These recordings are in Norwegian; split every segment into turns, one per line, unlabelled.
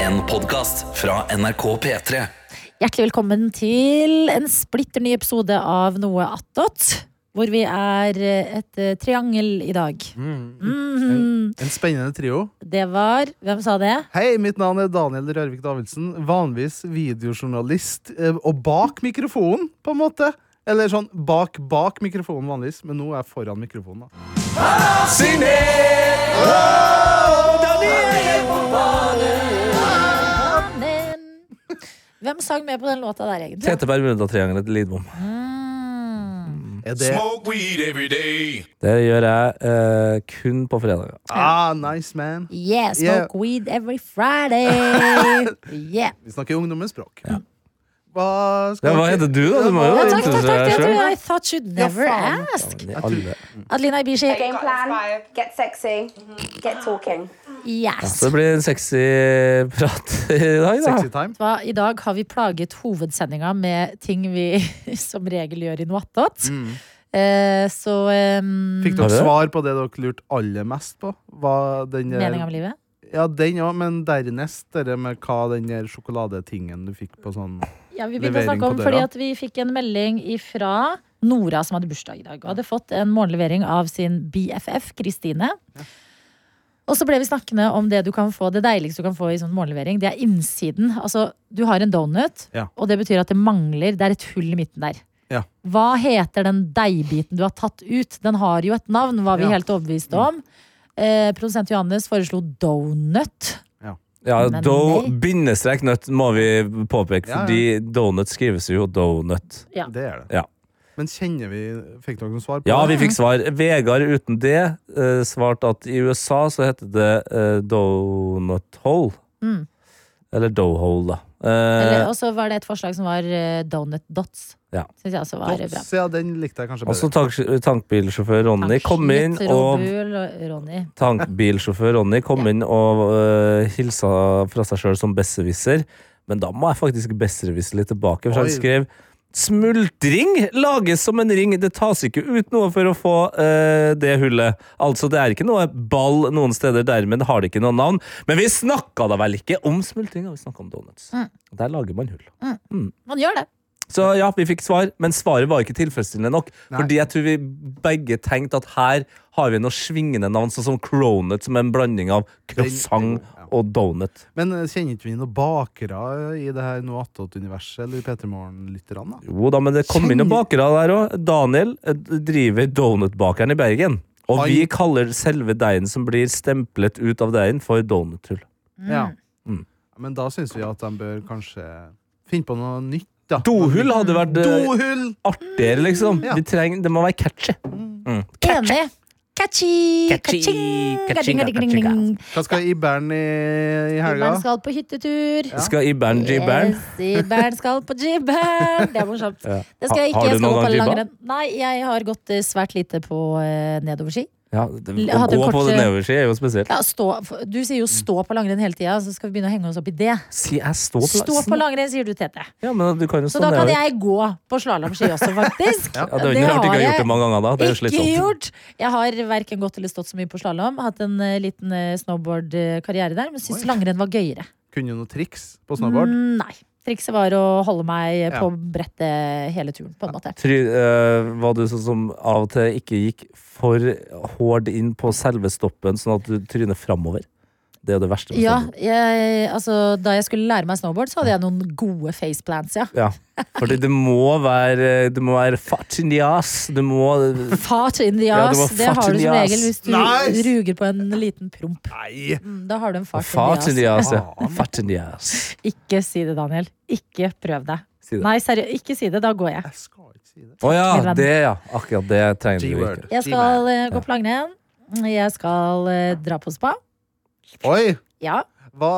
En podcast fra NRK P3
Hjertelig velkommen til en splitter ny episode av Noe attåt. Hvor vi er et eh, triangel i dag.
Mm.
Mhm.
En spennende trio.
Det var Hvem sa det?
Hei, mitt navn er Daniel Rørvik Davidsen. Vanligvis videojournalist. eh, Og bak mikrofonen, på en måte. Eller sånn bak bak mikrofonen vanligvis, men nå er jeg foran mikrofonen. da.
Mannen. Hvem sang med på den låta der, egentlig?
Tete Bermuda-triangelet til Lidbom.
Mm.
Er det
Smoke weed every day.
Det gjør jeg eh, kun på fredager.
Ah, nice man.
Yeah, smoke
Yeah.
weed every Friday. Yeah.
Vi snakker ungdommens språk. Hva skal
Ja, hva
dere-
heter du, da? Du må jo
Ja,
Det
takk, takk, takk.
interesserer
Jeg
deg
tror
selv.
I thought you'd never
faen.
ask.
I alle.
Adelina Ibishi.
Game plan, get sexy, get talking.
Yes.
Så det blir en sexy prat i dag, da.
Sexy time.
Hva, I dag har vi plaget hovedsendinga med ting vi som regel gjør i noe attåt.
Mm.
Eh, så um,
Fikk
Var
dere
det?
svar på det dere lurte aller mest på? Hva den der-
meninga med livet?
Ja, den òg, men dernest det der med hva den der sjokoladetingen du fikk på sånn
Ja, vi begynte å
Levering
snakke om
på døra.
fordi at vi fikk en melding ifra Nora, som hadde bursdag i dag. Og hadde fått en morgenlevering av sin BFF, Kristine. Og så ble vi snakkende om det du kan få, det deiligste du kan få i sånn morgenlevering. Det er innsiden. Altså, du har en donut,
Ja.
og det betyr at det mangler Det er et hull i midten der.
Ja.
Hva heter den deigbiten du har tatt ut? Den har jo et navn, var vi
Ja.
helt overbevist om. Eh, produsent Johannes foreslo donut.
Ja,
Men
do,
nei.
bindestrek nøtt må vi påpeke,
Ja, ja.
fordi donut skrives jo donut.
Ja.
Det er det.
Ja.
Men kjenner vi Fikk dere noe svar på
Ja,
det?
vi fikk svar. Vegard uten det eh, svarte at i USA så heter det eh, donut hole.
Mm.
Eller dough hole, da. Eh,
Eller- Og så var det et forslag som var eh, donut dots.
Ja.
Synes jeg også var bra.
Dots, ja, den likte jeg kanskje
Altså
bedre.
tank, tankbilsjåfør Ronny kom inn
Litt
og
Robul og Ronny.
Tankbilsjåfør Ronny kom inn og øh, hilsa fra seg sjøl som besserwisser. Men da må jeg faktisk besserwisse litt tilbake, for han
Oi.
skrev Smultring lages som en ring, det tas ikke ut noe for å få øh, det hullet. Altså, det er ikke noe ball noen steder, dermed har det ikke noe navn. Men vi snakka da vel ikke om smultring, vi snakka om donuts.
Mm.
Der lager man hull.
Man gjør det.
Så ja, vi fikk svar, men svaret var ikke tilfredsstillende nok.
Nei.
Fordi jeg tror vi begge tenkte at her har vi noe svingende navn, sånn som Cronut, som er en blanding av
Den-
croissant
ja.
og donut.
Men eh, kjenner ikke vi noen bakere eh, i det her noe attåt-universet, eller P3 Morgen-lytterne? da?
Jo da, men det kom inn noen
Kjenner-
bakere der òg. Daniel eh, driver Donutbakeren i Bergen. Og
Han-
vi kaller selve deigen som blir stemplet ut av deigen, for donuthull.
Ja.
Mm.
Men da syns vi at de bør kanskje finne på noe nytt, da.
Dohull hadde vært eh,
Dohull!
artigere, liksom.
Mm, Ja.
Vi trenger, det må være catchy.
Enig. Catchy!
Catchy.
Kaching!
Kaching,
Gading, gading, gading, gading.
Hva skal Ibern i, i helga?
Jibberen skal på hyttetur.
Ja.
Vi skal i band G-band.
Yes, Jibberen skal på jibberen! Det er morsomt.
Ja.
Det skal jeg
Har-
ikke.
har du
jeg skal
noen
gå på
gang jibba?
langrenn. Nei, jeg har gått eh, svært lite på eh, nedoverski.
Ja, det,
Jeg
å
hadde
gå på
kort-
nedoverski er jo spesielt.
Ja, stå, du sier
Mm.
jo stå på langrenn hele tida, så skal vi begynne å henge oss opp i det.
Si jeg står på
Stå på langrenn, sier du, Tete.
Ja, men du kan jo
Så
stå
da kan
nedover.
jeg gå på slalåmski også, faktisk.
Ja, det, har vært ikke gjort det mange ganger da. Det er jo
Ikke
slitsomt.
gjort! Jeg har verken gått eller stått så mye på slalåm. Hatt en eh, liten eh, snowboard-karriere der, men syns
Oi.
langrenn var gøyere.
Kunne du noe triks på snowboard?
Mm, Nei. Trikset var å holde meg eh,
Ja.
på brettet hele turen, på en måte.
Try, eh, var du sånn som av og til ikke gikk for hård inn på selve stoppen, sånn at du tryner framover? Det er jo det verste. med
Ja,
snowboard.
jeg, altså, da jeg skulle lære meg snowboard, så hadde jeg noen gode faceplants, ja.
ja. Fordi det må være Du må være fart in the ass. Du må
Fart in the
Ja, det
ass.
var
det,
fart
har
in
du
the
som
ass.
regel hvis du
Nice!
ruger på en liten promp.
Nei!
Mm, Da har du en fart,
Fart in the ass, ja.
Faen.
Fart in the ass.
Ikke si det, Daniel. Ikke prøv deg.
Si det.
Nei, seriøst, ikke si det. Da går jeg.
Jeg skal ikke si det.
Å ja,
Kevin.
det, ja. Akkurat det trenger du
G-word.
ikke.
Jeg skal eh, gå på langrenn. Jeg skal eh, dra på spa.
Oi!
Ja.
Hva,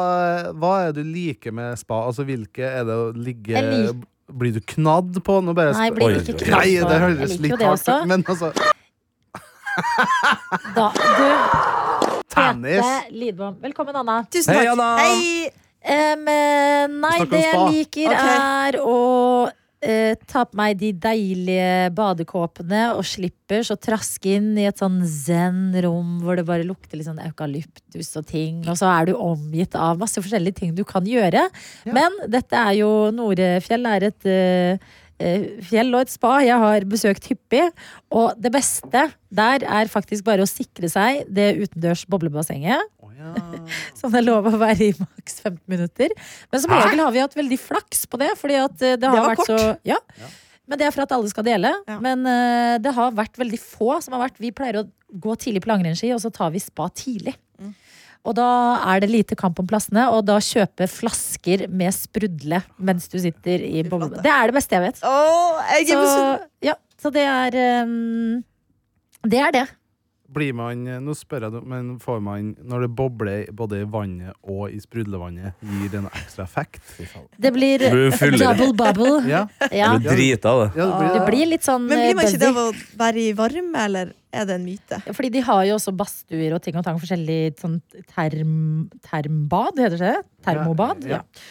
hva er det du liker med spa? Altså, hvilke er det å ligge
Jeg
Blir du knadd på? Nå bare
Nei,
spør-
blir
Oi, oi,
ikke
oi.
knapt
Nei,
på.
det høres
Jeg liker jo
litt
det
hardt
også.
ut, men altså
Da, du,
Tennis.
Tete Lidbom. Velkommen, Anna.
Tusen
Hei,
takk.
Anna.
Hei.
Em, eh, nei,
Snakker om
det jeg
spa.
liker,
Ok.
er å eh, ta på meg de deilige badekåpene og slippers og traske inn i et sånn zen-rom hvor det bare lukter litt sånn eukalyptus og ting, og så er du omgitt av masse forskjellige ting du kan gjøre. Men dette er jo Norefjell er et eh, eh, fjell og et spa jeg har besøkt hyppig, og det beste der er faktisk bare å sikre seg det utendørs boblebassenget. Som det er lov å være i maks 15 minutter. Men som regel har vi hatt veldig flaks på det. Fordi at eh, det har
var
vært
kort.
så ja. Men det er for at alle skal dele.
Ja.
Men eh, det har vært veldig få som har vært Vi pleier å gå tidlig på langrennsski, og så tar vi spa tidlig.
Mm.
Og da er det lite kamp om plassene, og da kjøpe flasker med sprudle mens du sitter i bobla. Det er det beste jeg vet.
Åh, jeg er
Så,
misunnelig.
ja, så det er eh, Det er det.
Blir man, nå spør jeg, deg, men får man, når det bobler både i vannet og i sprudlevannet, gir det en ekstra effekt?
Det blir
Du fyller.
double bubble.
Ja,
Ja.
Du driter av det.
ja det blir
Det blir litt sånn
Men
eh,
blir man ikke det
buzzy.
av å være i varme, eller er det en myte?
Fordi de har jo også badstuer og ting og tang, forskjellig sånn term, termbad, heter det det? Termobad.
Ja, ja.
Ja.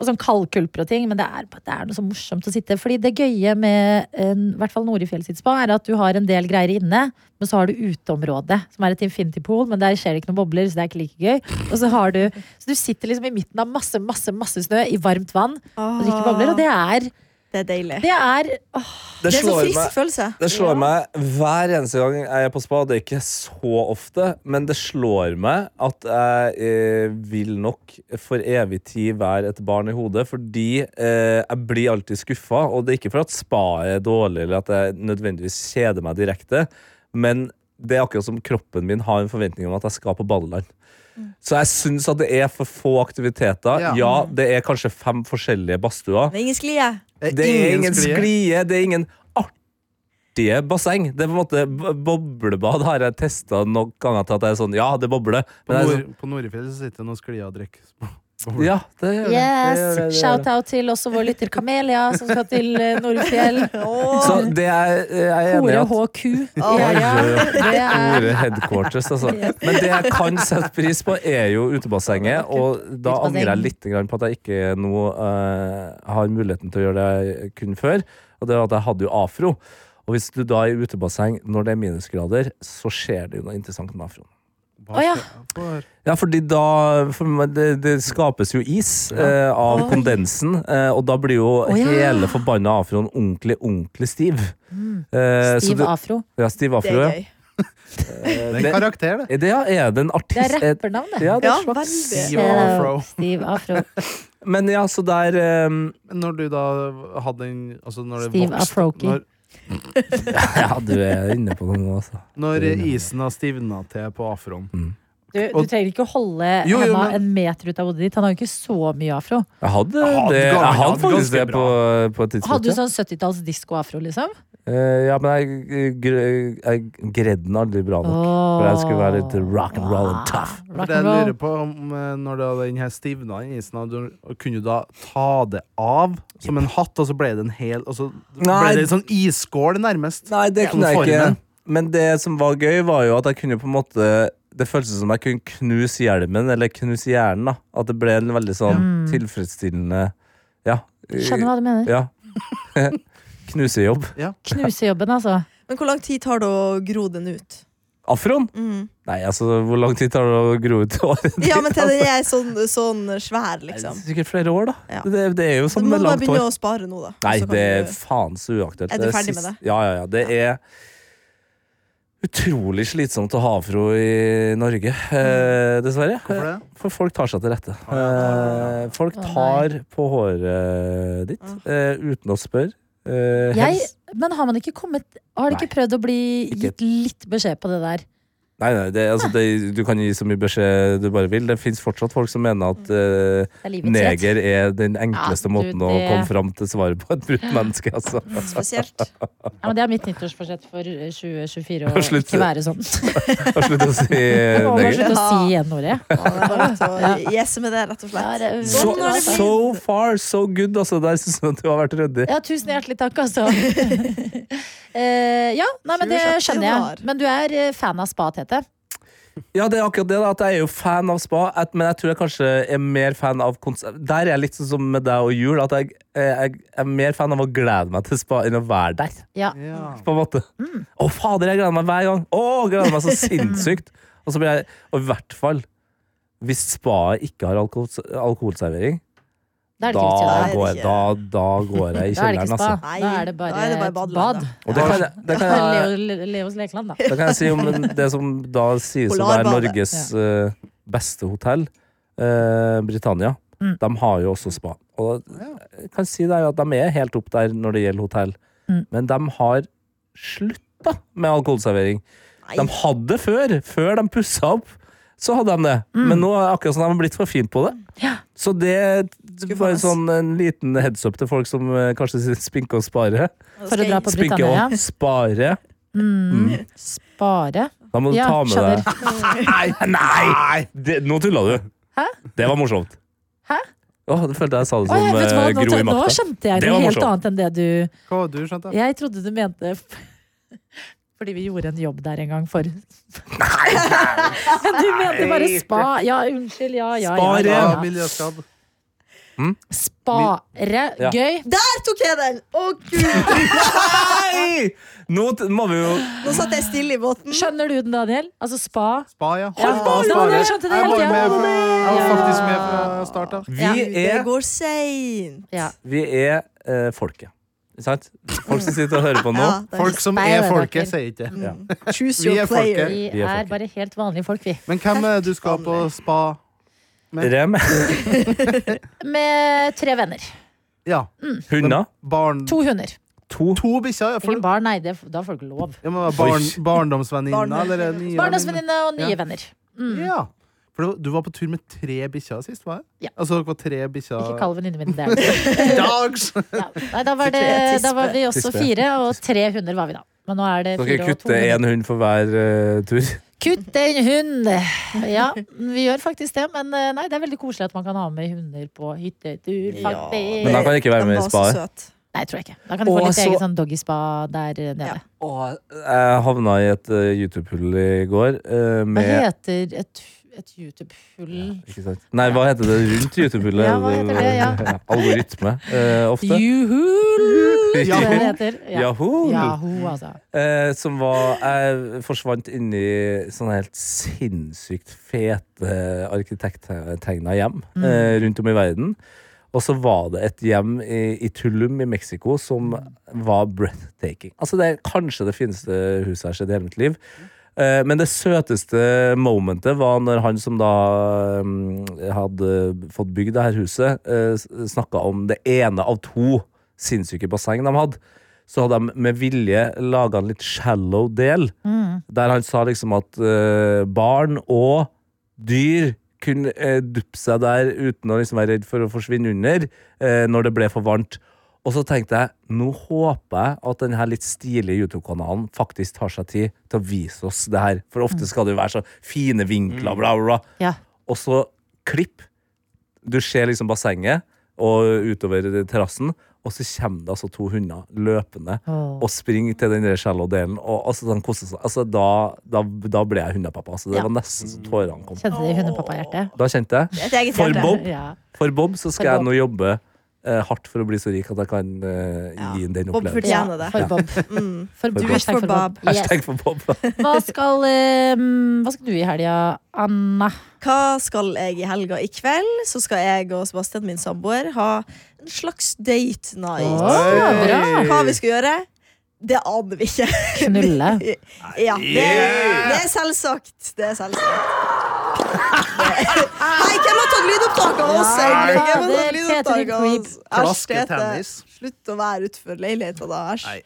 Og sånn kaldkulper og ting, men det er, det er noe så morsomt å sitte. Fordi det gøye med eh, i hvert fall Norefjell sitt spa, er at du har en del greier inne, men så har du uteområdet, som er et infinity pool, men der skjer det ikke noen bobler, så det er ikke like gøy. Og så har du Så du sitter liksom i midten av masse, masse, masse snø i varmt vann og drikker bobler, og det er
Det er deilig.
Det er åh,
Det er så
slår
frisk
meg-
følelse.
Det slår meg hver eneste gang jeg er på spa. Det er ikke så ofte, men det slår meg at jeg eh, vil nok for evig tid være et barn i hodet, fordi eh, jeg blir alltid skuffa. Og det er ikke for at spaet er dårlig, eller at jeg nødvendigvis kjeder meg direkte, men det er akkurat som kroppen min har en forventning om at jeg skal på badeland. Så jeg syns at det er for få aktiviteter.
Ja.
Ja, det er kanskje fem forskjellige badstuer.
Det er ingen sklie.
Eh,
Det er ingen sklie, det er ingen artige basseng. Det er på en måte b- Boblebad har jeg testa nok ganger til at jeg er sånn Ja, det bobler.
På,
Men jeg er
nord, på Norefjell så sitter det noen sklier og drikker.
sånn, ja, det gjør det. det. gjør det,
Yes!
det gjør det.
Shout-out til også vår lytter Kamelia, som skal til eh, Norefjell.
Så det er, jeg er enig i
Hore
at
HQ.
Åh.
Ja, ja. Det er
Store headquarters, altså. Men det jeg kan sette pris på, er jo utebassenget. Og da
Utebasseng.
angrer jeg litt grann på at jeg ikke nå eh, har muligheten til å gjøre det jeg kunne før. Og det var at jeg hadde jo afro. Og hvis du da er i utebasseng når det er minusgrader, så skjer det jo noe interessant med afroen.
Å ja.
Ja, fordi da for meg, det, det skapes jo is eh, av kondensen, eh, og da blir jo
Å, ja.
hele forbanna afroen ordentlig, ordentlig stiv. Eh, så
Mm. Stiv
det-
Afro.
Ja, stiv
Det er
afro, ja.
gøy.
Det er en karakter, det.
Er det, ja, er det en
Det er
artist et-
rappernavn, det.
Ja, det er
Ja,
et slags
veldig.
Stiv Afro.
Stiv Afro.
Men ja, så der ehm,
Men når du da hadde den altså når det
Steve
vokste-
Afroki.
Når,
Ja, du er inne på noe nå, altså.
når isen har stivna til på afroen
Du, du trenger ikke å holde
Jo, jo,
henda
men-
en meter ut av hodet ditt. Han har jo ikke så mye afro.
Jeg hadde
Jeg hadde
det,
ganske-
jeg hadde
jeg hadde
faktisk det
ganske
på, på et tidspunkt.
Hadde du
ja.
sånn 70-talls disko-afro, liksom?
Eh, ja, men jeg, gr- jeg gredde den aldri bra nok. For jeg skulle være litt rock and roll and tough.
Rock
For jeg
and
lurer
roll.
på om eh, når da den her stivna i isen, hadde du- kunne du da ta det av som en hatt, og så ble det en hel Og så
Nei.
ble det en sånn isskål, nærmest.
Nei, det
Ja.
kunne jeg
Formen.
ikke. Men det som var gøy, var jo at jeg kunne på en måte Det føltes som jeg kunne knuse hjelmen, eller knuse hjernen. da At det ble en veldig sånn
Mm.
tilfredsstillende Ja.
Skjønner hva du mener.
Ja. Knusejobb.
Knusejobben, altså.
Men hvor lang tid tar det å gro den ut?
Afroen?
Mm.
Nei, altså, hvor lang tid tar det å gro ut håret?
Ja, men til den er sånn, sånn svær, liksom.
Sikkert flere år, da.
Ja.
Det, det er jo
Så
som
du må
med
bare
sånn langt
begynne
hår.
å spare nå, da.
Nei,
Så kan
det er
du-
faen så uaktuelt.
Er du
Det
ferdig med
sist-
det?
Ja, ja, ja. Det er utrolig slitsomt å ha afro i Norge,
Mm.
eh, dessverre.
Hvorfor det?
For folk tar seg til rette. Eh, folk
Å, nei.
tar på håret ditt eh, uten å spørre. Eh,
Jeg,
helst.
men har man ikke kommet Har du ikke prøvd å bli
Ikke.
gitt litt beskjed på det der?
Nei, nei, det, altså, det, du kan gi så mye beskjed du bare vil. Det fins fortsatt folk som mener at eh,
Det er livets rett.
Neger er den enkleste
Mm. Ja, du,
måten å
det-
komme fram til svaret på et brutt menneske. Altså.
Spesielt.
Ja, men det er mitt nyttårsforsett for eh, 2024 å
Og slutt.
ikke være sånn.
Og slutt å si
Jeg må bare
neger.
slutte å si n-ordet.
Ja, det er bare til å gjesse med det, rett og
Ja,
slett.
det er
So,
veldig bra sagt.
so far, so good. Altså, der syns jeg at du har vært ryddig.
Ja, tusen hjertelig takk, altså. Eh, ja, nei, men det skjønner jeg. Men du er eh, fan av spa, Tete?
Ja, det er akkurat det. da, at Jeg er jo fan av spa, at- men jeg tror jeg kanskje er mer fan av konsert. Der er jeg litt sånn som med deg og jul, at jeg, eh, jeg, jeg er mer fan av å glede meg til spa enn å være der.
Ja.
Ja.
På en måte.
Mm.
Å, fader, jeg gleder meg hver gang! Å, jeg gleder meg så sinnssykt! Og så blir jeg, og i hvert fall hvis spaet ikke har alkohol, alkoholservering,
Da er det ikke
da
riktig.
det.
går, jeg, da, da går jeg i
Da er det ikke
kjelleren,
spa.
altså.
Nei,
Da er det bare,
da er det bare
et
badeland,
bad.
da.
Og det kan, jeg- det kan jeg
Leo, Leos lekeland, da.
Da kan jeg si om det som da sies å være
Polarbadet.
Norges eh, beste hotell, eh, Britannia.
Mm.
De har jo også spa. Og jeg kan si der at de er helt opp der når det gjelder hotell.
Mm.
Men de har slutta med alkoholservering. De
Nei.
hadde før, før de pussa opp. Så hadde de det, men nå er det akkurat som de har blitt for fine på det.
Mm. Ja.
Så det er bare
Skuffende.
sånn en liten heads up til folk som eh, kanskje sier spinke og spare.
For å dra på
Spinke
Britannia.
og spare.
Mm. Spare.
Da må du
Ja,
ta med
skjønner.
deg Nei! nei. Det, nå tulla du.
Hæ?
Det var morsomt.
Hæ?
Åh, det følte jeg sa det
Å,
som
jeg vet hva,
eh,
nå,
Gro i
nå
makta.
skjønte jeg
Det
noe
var
helt
morsomt.
annet enn det du
Hva var du skjønt, da?
Jeg trodde du mente fordi vi gjorde en jobb der en gang for Men du mente bare spa. Ja, unnskyld. Ja, ja,
Spare.
ja.
Ja,
ja.
miljøskadd.
Spare.
Ja.
Gøy.
Der tok jeg den! Å, gud!
Nei! Nå t- må vi jo
Nå satt jeg stille i båten.
Skjønner du den, Daniel? Altså spa.
Spa, ja.
Ja,
Spa,
Daniel
spare.
skjønte det
Jeg
hele
var
tiden.
med fra- jeg var
Ja.
faktisk med fra start av.
Vi
Ja.
Det
er,
går seint.
Ja.
vi er eh, folket. Ikke sant? Folk som sitter og hører på nå.
Ja, det er- liksom-
Folk som
Speil,
er
dere.
folket, sier ikke det.
Choose
Vi
your
er folket.
player.
Vi
Vi er
er
folk.
bare helt vanlige folk, vi.
Men hvem er det du skal på spa?
Rem.
Med tre venner.
Ja,
Hunder.
barn
To hunder.
To.
To bikkjer? Ja, for-
Ingen barn, nei. Det, da får du ikke lov.
ja, men barn,
Oi.
barndomsvenninne?
Barndomsvenninne.
eller er det nye
Barndomsvenninne og nye
Ja.
venner. Mm.
venninne? Ja. For du- du var på tur med tre bikkjer sist, var det?
Ja.
Altså dere var tre bikkjer
Ikke kall venninnen min det.
Dogs!
Ja. Nei, da var, det,
Tispe.
da var vi også
Tispe.
fire, og tre hunder var vi da. Men nå er det
Dere
fire og to
kutter
hunder.
én hund for hver eh, tur.
Kutt en hund! Ja, vi gjør faktisk det, men eh, nei, det er veldig koselig at man kan ha med hunder på hyttetur,
Ja,
faktisk.
Men da kan jeg ikke være
Den
med i
var så
spaet.
søt.
Nei, tror jeg ikke. Da kan de få
Og
litt
så-
eget sånn doggyspa der nede.
Ja.
Åh, Jeg havna i et eh, YouTube-hull i går eh,
Hva
med
heter et, et YouTube-hull?
Ikke sant? Nei, hva heter det rundt YouTube-hullet?
Ja, hva heter det? Ja.
Algoritme, eh, ofte.
Juhul! tror jeg det heter. Ja.
Yahoo!
Yahoo, altså.
Eh, som var Jeg forsvant inni sånne helt sinnssykt fete arkitekttegna hjem eh, rundt om i verden. Og så var det et hjem i, i Tulum i Mexico som var breathtaking. Altså Det er kanskje det fineste huset jeg har sett i hele mitt liv. Eh, Men det søteste momentet var når han som da mm, hadde fått bygd det her huset, eh, s- snakka om det ene av to sinnssyke basseng de hadde. Så hadde de med vilje laga en litt shallow del, der han sa liksom at eh, barn og dyr kunne eh, duppe seg der uten å liksom være redd for å forsvinne under eh, når det ble for varmt. Og så tenkte jeg, nå håper jeg at denne litt stilige YouTube-kanalen faktisk tar seg tid til å vise oss det her. For ofte skal det jo være så fine vinkler, bla, bla, bla.
Ja.
Og så klipp. Du ser liksom bassenget og utover terrassen, og så kommer det altså to hunder løpende
Åh.
og springer til den der shallow-delen. Og altså, den koser seg. Altså, da, da, da ble jeg hundepappa. Altså, det
Ja.
var nesten så tårene kom.
Kjente det i hundepappahjertet?
Da kjente jeg
Et eget
For
hjerte.
Bob?
Ja.
For Bob så skal jeg
For
nå jobbe eh, hardt for å bli så rik at jeg kan eh,
Ja.
gi ham den
Bob
opplevelsen.
ja.
Gjerne det.
For Bob.
Mm.
For
Bob.
Bob. Hashtag for Bob. Yes.
Hashtag for Bob.
Hva skal, eh, hva skal du i helga, Anna?
Hva skal jeg i helga? I kveld så skal jeg og Sebastian, min samboer, ha en slags date night.
Åh, bra.
Hva vi skal gjøre, det aner vi ikke.
Knulle.
Ja, det, det er selvsagt. Det er selvsagt. Hei, hvem har tatt lydopptak av oss? egentlig? Hvem har tatt
det er
lydopptak
Peter
av oss? Æsj, Tete.
Klasketennis.
Slutt å være utfor leiligheta da, æsj.
Nei.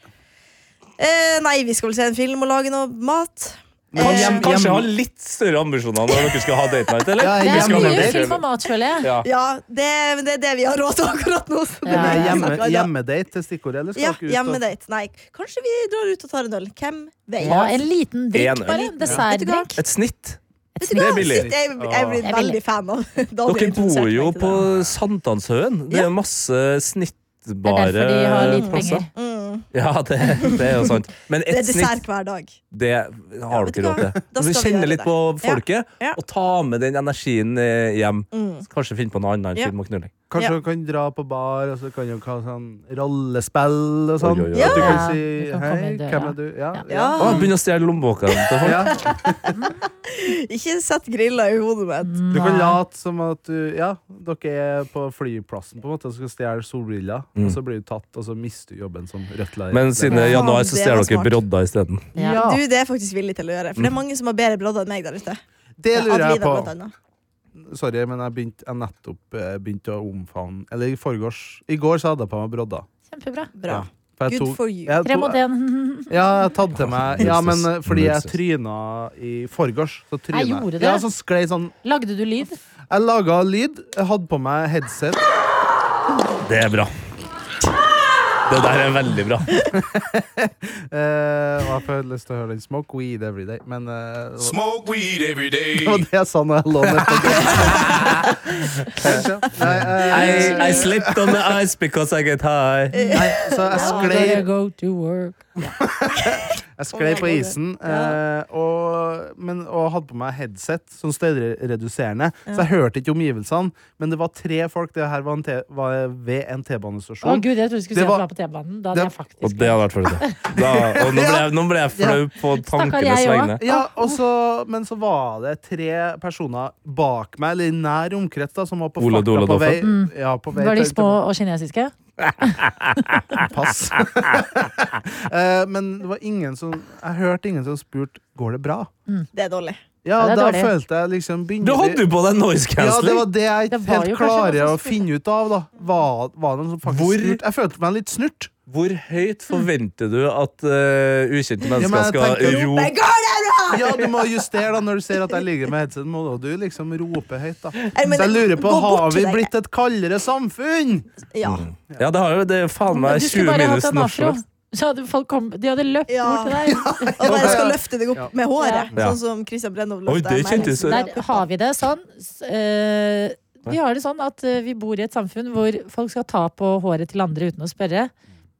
Eh, nei, vi skal vel se en film og lage noe mat.
Kanskje,
Hjem-
kanskje
hjem-
ha litt større ambisjoner når dere skal ha date night, eller?
Ja,
Det
Vi
er
skal ha
mye
date night.
film og mat, føler jeg.
Ja.
Ja, det, men det er det vi har råd til akkurat nå. så det
Ja,
blir
ja.
Hjemme,
snakket i dag.
hjemmedate til stikkordet, eller skal
Ja,
dere ut og-
hjemmedate. Nei, kanskje vi drar ut og tar en øl. Hvem vet?
Ja, en liten drikk,
En øl.
bare. En Dessertdrikk.
Et snitt.
Vet du hva?
Det er billig.
Shit, Jeg, jeg blir
Det er
veldig fan av Daniel
Dere
introduserte
bor jo
meg til
på Sankthanshaugen. Det
Ja.
er masse
Det er
snittbare
derfor de har lite
plasser.
penger.
det. Mm.
Ja, det, det er jo sant. Men
Det
ett
er
snitt,
dessert hver dag.
det har
vet
dere
du
råd
hva?
til.
Da
Og så
skal vi
kjenne
gjøre
litt
det.
på
Ja.
folket,
Ja.
og ta med den energien eh, hjem.
Mm.
Kanskje finne på noe annet enn
Ja.
film og knulling.
Kanskje
Ja.
dere kan dra på bar, og så kan dere ha sånn rollespill og sånn.
Oi, oi, oi.
At Du kan
Ja.
si
Du kan komme
hei,
i døra.
hvem er du? Ja.
Ja.
Å, begynne å stjele lommeboka til folk.
Ja.
Ikke sett griller i hodet mitt.
Du kan
Nei.
late som at du Ja, dere er på flyplassen på en måte og skal stjele solbriller,
Mm.
og så blir du tatt, og så mister du jobben som rødt lærer.
Men siden det er januar, så
Det
stjeler
var
dere
smart.
brodder isteden.
Ja.
Ja.
Du, det er jeg faktisk villig til å gjøre. For det er mange som har bedre brodder enn meg der ute.
Det lurer jeg
Adelina
på.
blant annet.
Sorry, men jeg begynte jeg nettopp eh, begynte å omfavne Eller i forgårs. I går så hadde jeg på meg brodder.
Kjempebra.
Bra.
Ja. For jeg
Good
tok-
for you.
jeg
Tre
tok-
mot én.
Ja, jeg har tatt til meg Ja, men eh, fordi jeg
Nurses.
tryna i forgårs. Så tryna
Jeg gjorde det.
Ja, så sklei sånn
Lagde du lyd?
Jeg laga lyd. Jeg hadde på meg headset.
Det er bra. Det der er veldig bra.
Eh, og jeg får lyst til å høre den Smoke Weed Every Day. Men eh, det var-
Smoke weed every
det var
day.
det jeg sa når jeg lå ned på gulvet. Nei, eh,
I, I slipped on the ice because I get high.
nei, så jeg
Gotta
sklei,
Go to work.
jeg sklei på isen, eh, og, men, og hadde på meg headset, sånn støyreduserende. Så jeg hørte ikke omgivelsene, men det var tre folk. Det her var, en te, var ved en
Å
T-banestasjon.
gud, jeg trodde du skulle si
Det
at
var-
du var på T-banen. Da hadde
det-
jeg
Og
faktisk
det hadde vært for det. Da, og nå ble, jeg- nå ble jeg flau på
Stakkar,
tankenes
jeg også.
vegne.
Ja, og så, men så var det tre personer bak meg, eller i nær omkrets, da, som var på
Ole
farta
Dole
på vei,
Doffen.
ja, på vei
Mm. Var de
til-
små og kinesiske?
Pass. Eh, Men det var ingen som Jeg hørte ingen som spurte Går det bra.
Det er dårlig.
Ja,
Ja,
det er
da
dårlig.
følte jeg liksom begynner
Du hadde
vi-
jo på deg noise
ja, det
cancelling!
var det jeg ikke
Det var jo
helt
kanskje noen
klarer å
som
finne ut av. da Var, var det noen som faktisk
Hvor-
spurte? Jeg følte meg litt snurt.
Hvor høyt forventer du at eh, ukjente mennesker
jeg
skal
tenker-
ro
Men går det bra?!
Ja, Du må justere da når du ser at jeg ligger med headset. Må du liksom rope høyt, da. Så
men
jeg lurer
det-
på
gå bort
har
til
vi
deg.
blitt et kaldere samfunn?
Ja.
Ja, det har jo det er faen meg
Du skulle
20
bare
minus
hatt en
norsk.
afro.
folk.
Så hadde folk kom, de hadde løpt
Ja.
bort til deg.
Og bare skal løfte deg
Ja.
opp med håret,
Ja.
sånn som Christian Brennov
Oi,
løfta
det kjentes-
Der har vi det sånn. s- eh, vi har det sånn at eh, vi bor i et samfunn hvor folk skal ta på håret til andre uten å spørre.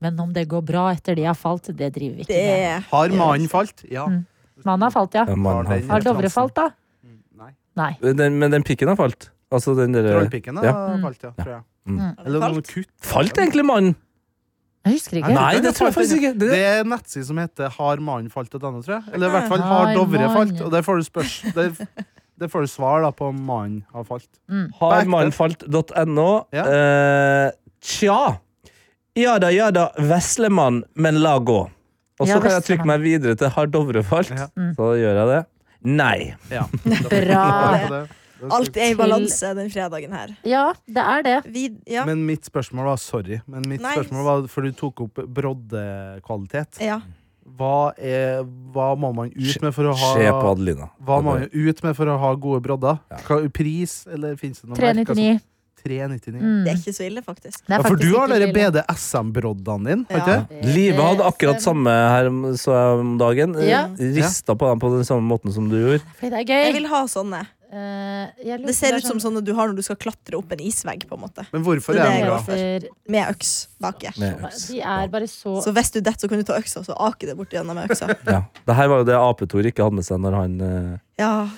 Men om det går bra etter de har falt, det driver vi ikke
Det
med.
er
Har mannen falt? Mm. Ja.
Mannen har falt, ja.
Ja, man, har-
Har Dovre falt, da?
Mm. Nei.
Nei.
den, men den pikken har falt. Altså den derre
Trollpikken
Ja.
har falt, ja. Tror jeg. Eller noe
falt.
kutt.
Falt egentlig mannen?
Jeg husker ikke.
Nei, det tror jeg faktisk ikke.
Det
Det,
er en nettside som heter Har mannen falt et annet, tror jeg. Eller i hvert fall Har
Har
Dovre
mannen.
falt. Og der får du, spørs, der, der får du svar da på om mannen har falt.
Harmannfalt.no.
Ja.
Eh, tja. Ja da, ja da, veslemann, men la gå. Og så
Ja,
kan jeg
veslemann. Mm.
trykke meg videre til har Dovre falt.
Ja.
Så gjør jeg det. Nei.
Ja.
Bra.
alt er i balanse den fredagen her.
Ja, det er det.
Vi, ja.
Men mitt spørsmål var sorry. Men mitt
Nei.
spørsmål var, For du tok opp broddekvalitet.
ja.
Hva, er, hva må man ut med for å ha
Se på Adelina.
Hva må man ut med for å ha gode brodder? Hva- Pris, eller fins det noe merke? Altså,
399.
399.
Det Mm, er ikke så ille, faktisk.
Det Mm. er
Ja, for
faktisk
du har
ikke
dere
så ille.
BDSM-broddene dine, har
Ja.
ikke det?
Live hadde akkurat samme her om- så jeg om dagen.
Ja.
Rista på dem på den samme måten som du gjorde.
Fordi det er
Jeg
gøy.
vil ha sånne.
Eh, jeg lurer
Det
på
ser
om
ut som sånne du har når du skal klatre opp en isvegg, på en måte.
Men hvorfor
Det
er
er
det
jeg
bra?
glad for.
Heter-
Med øks baki.
Med øks.
De er bare så
Så hvis du detter, så kan du ta øksa og så ake det bort gjennom med øksa.
Ja. Det her var jo det Apetor ikke hadde med seg når han eh,
Ja,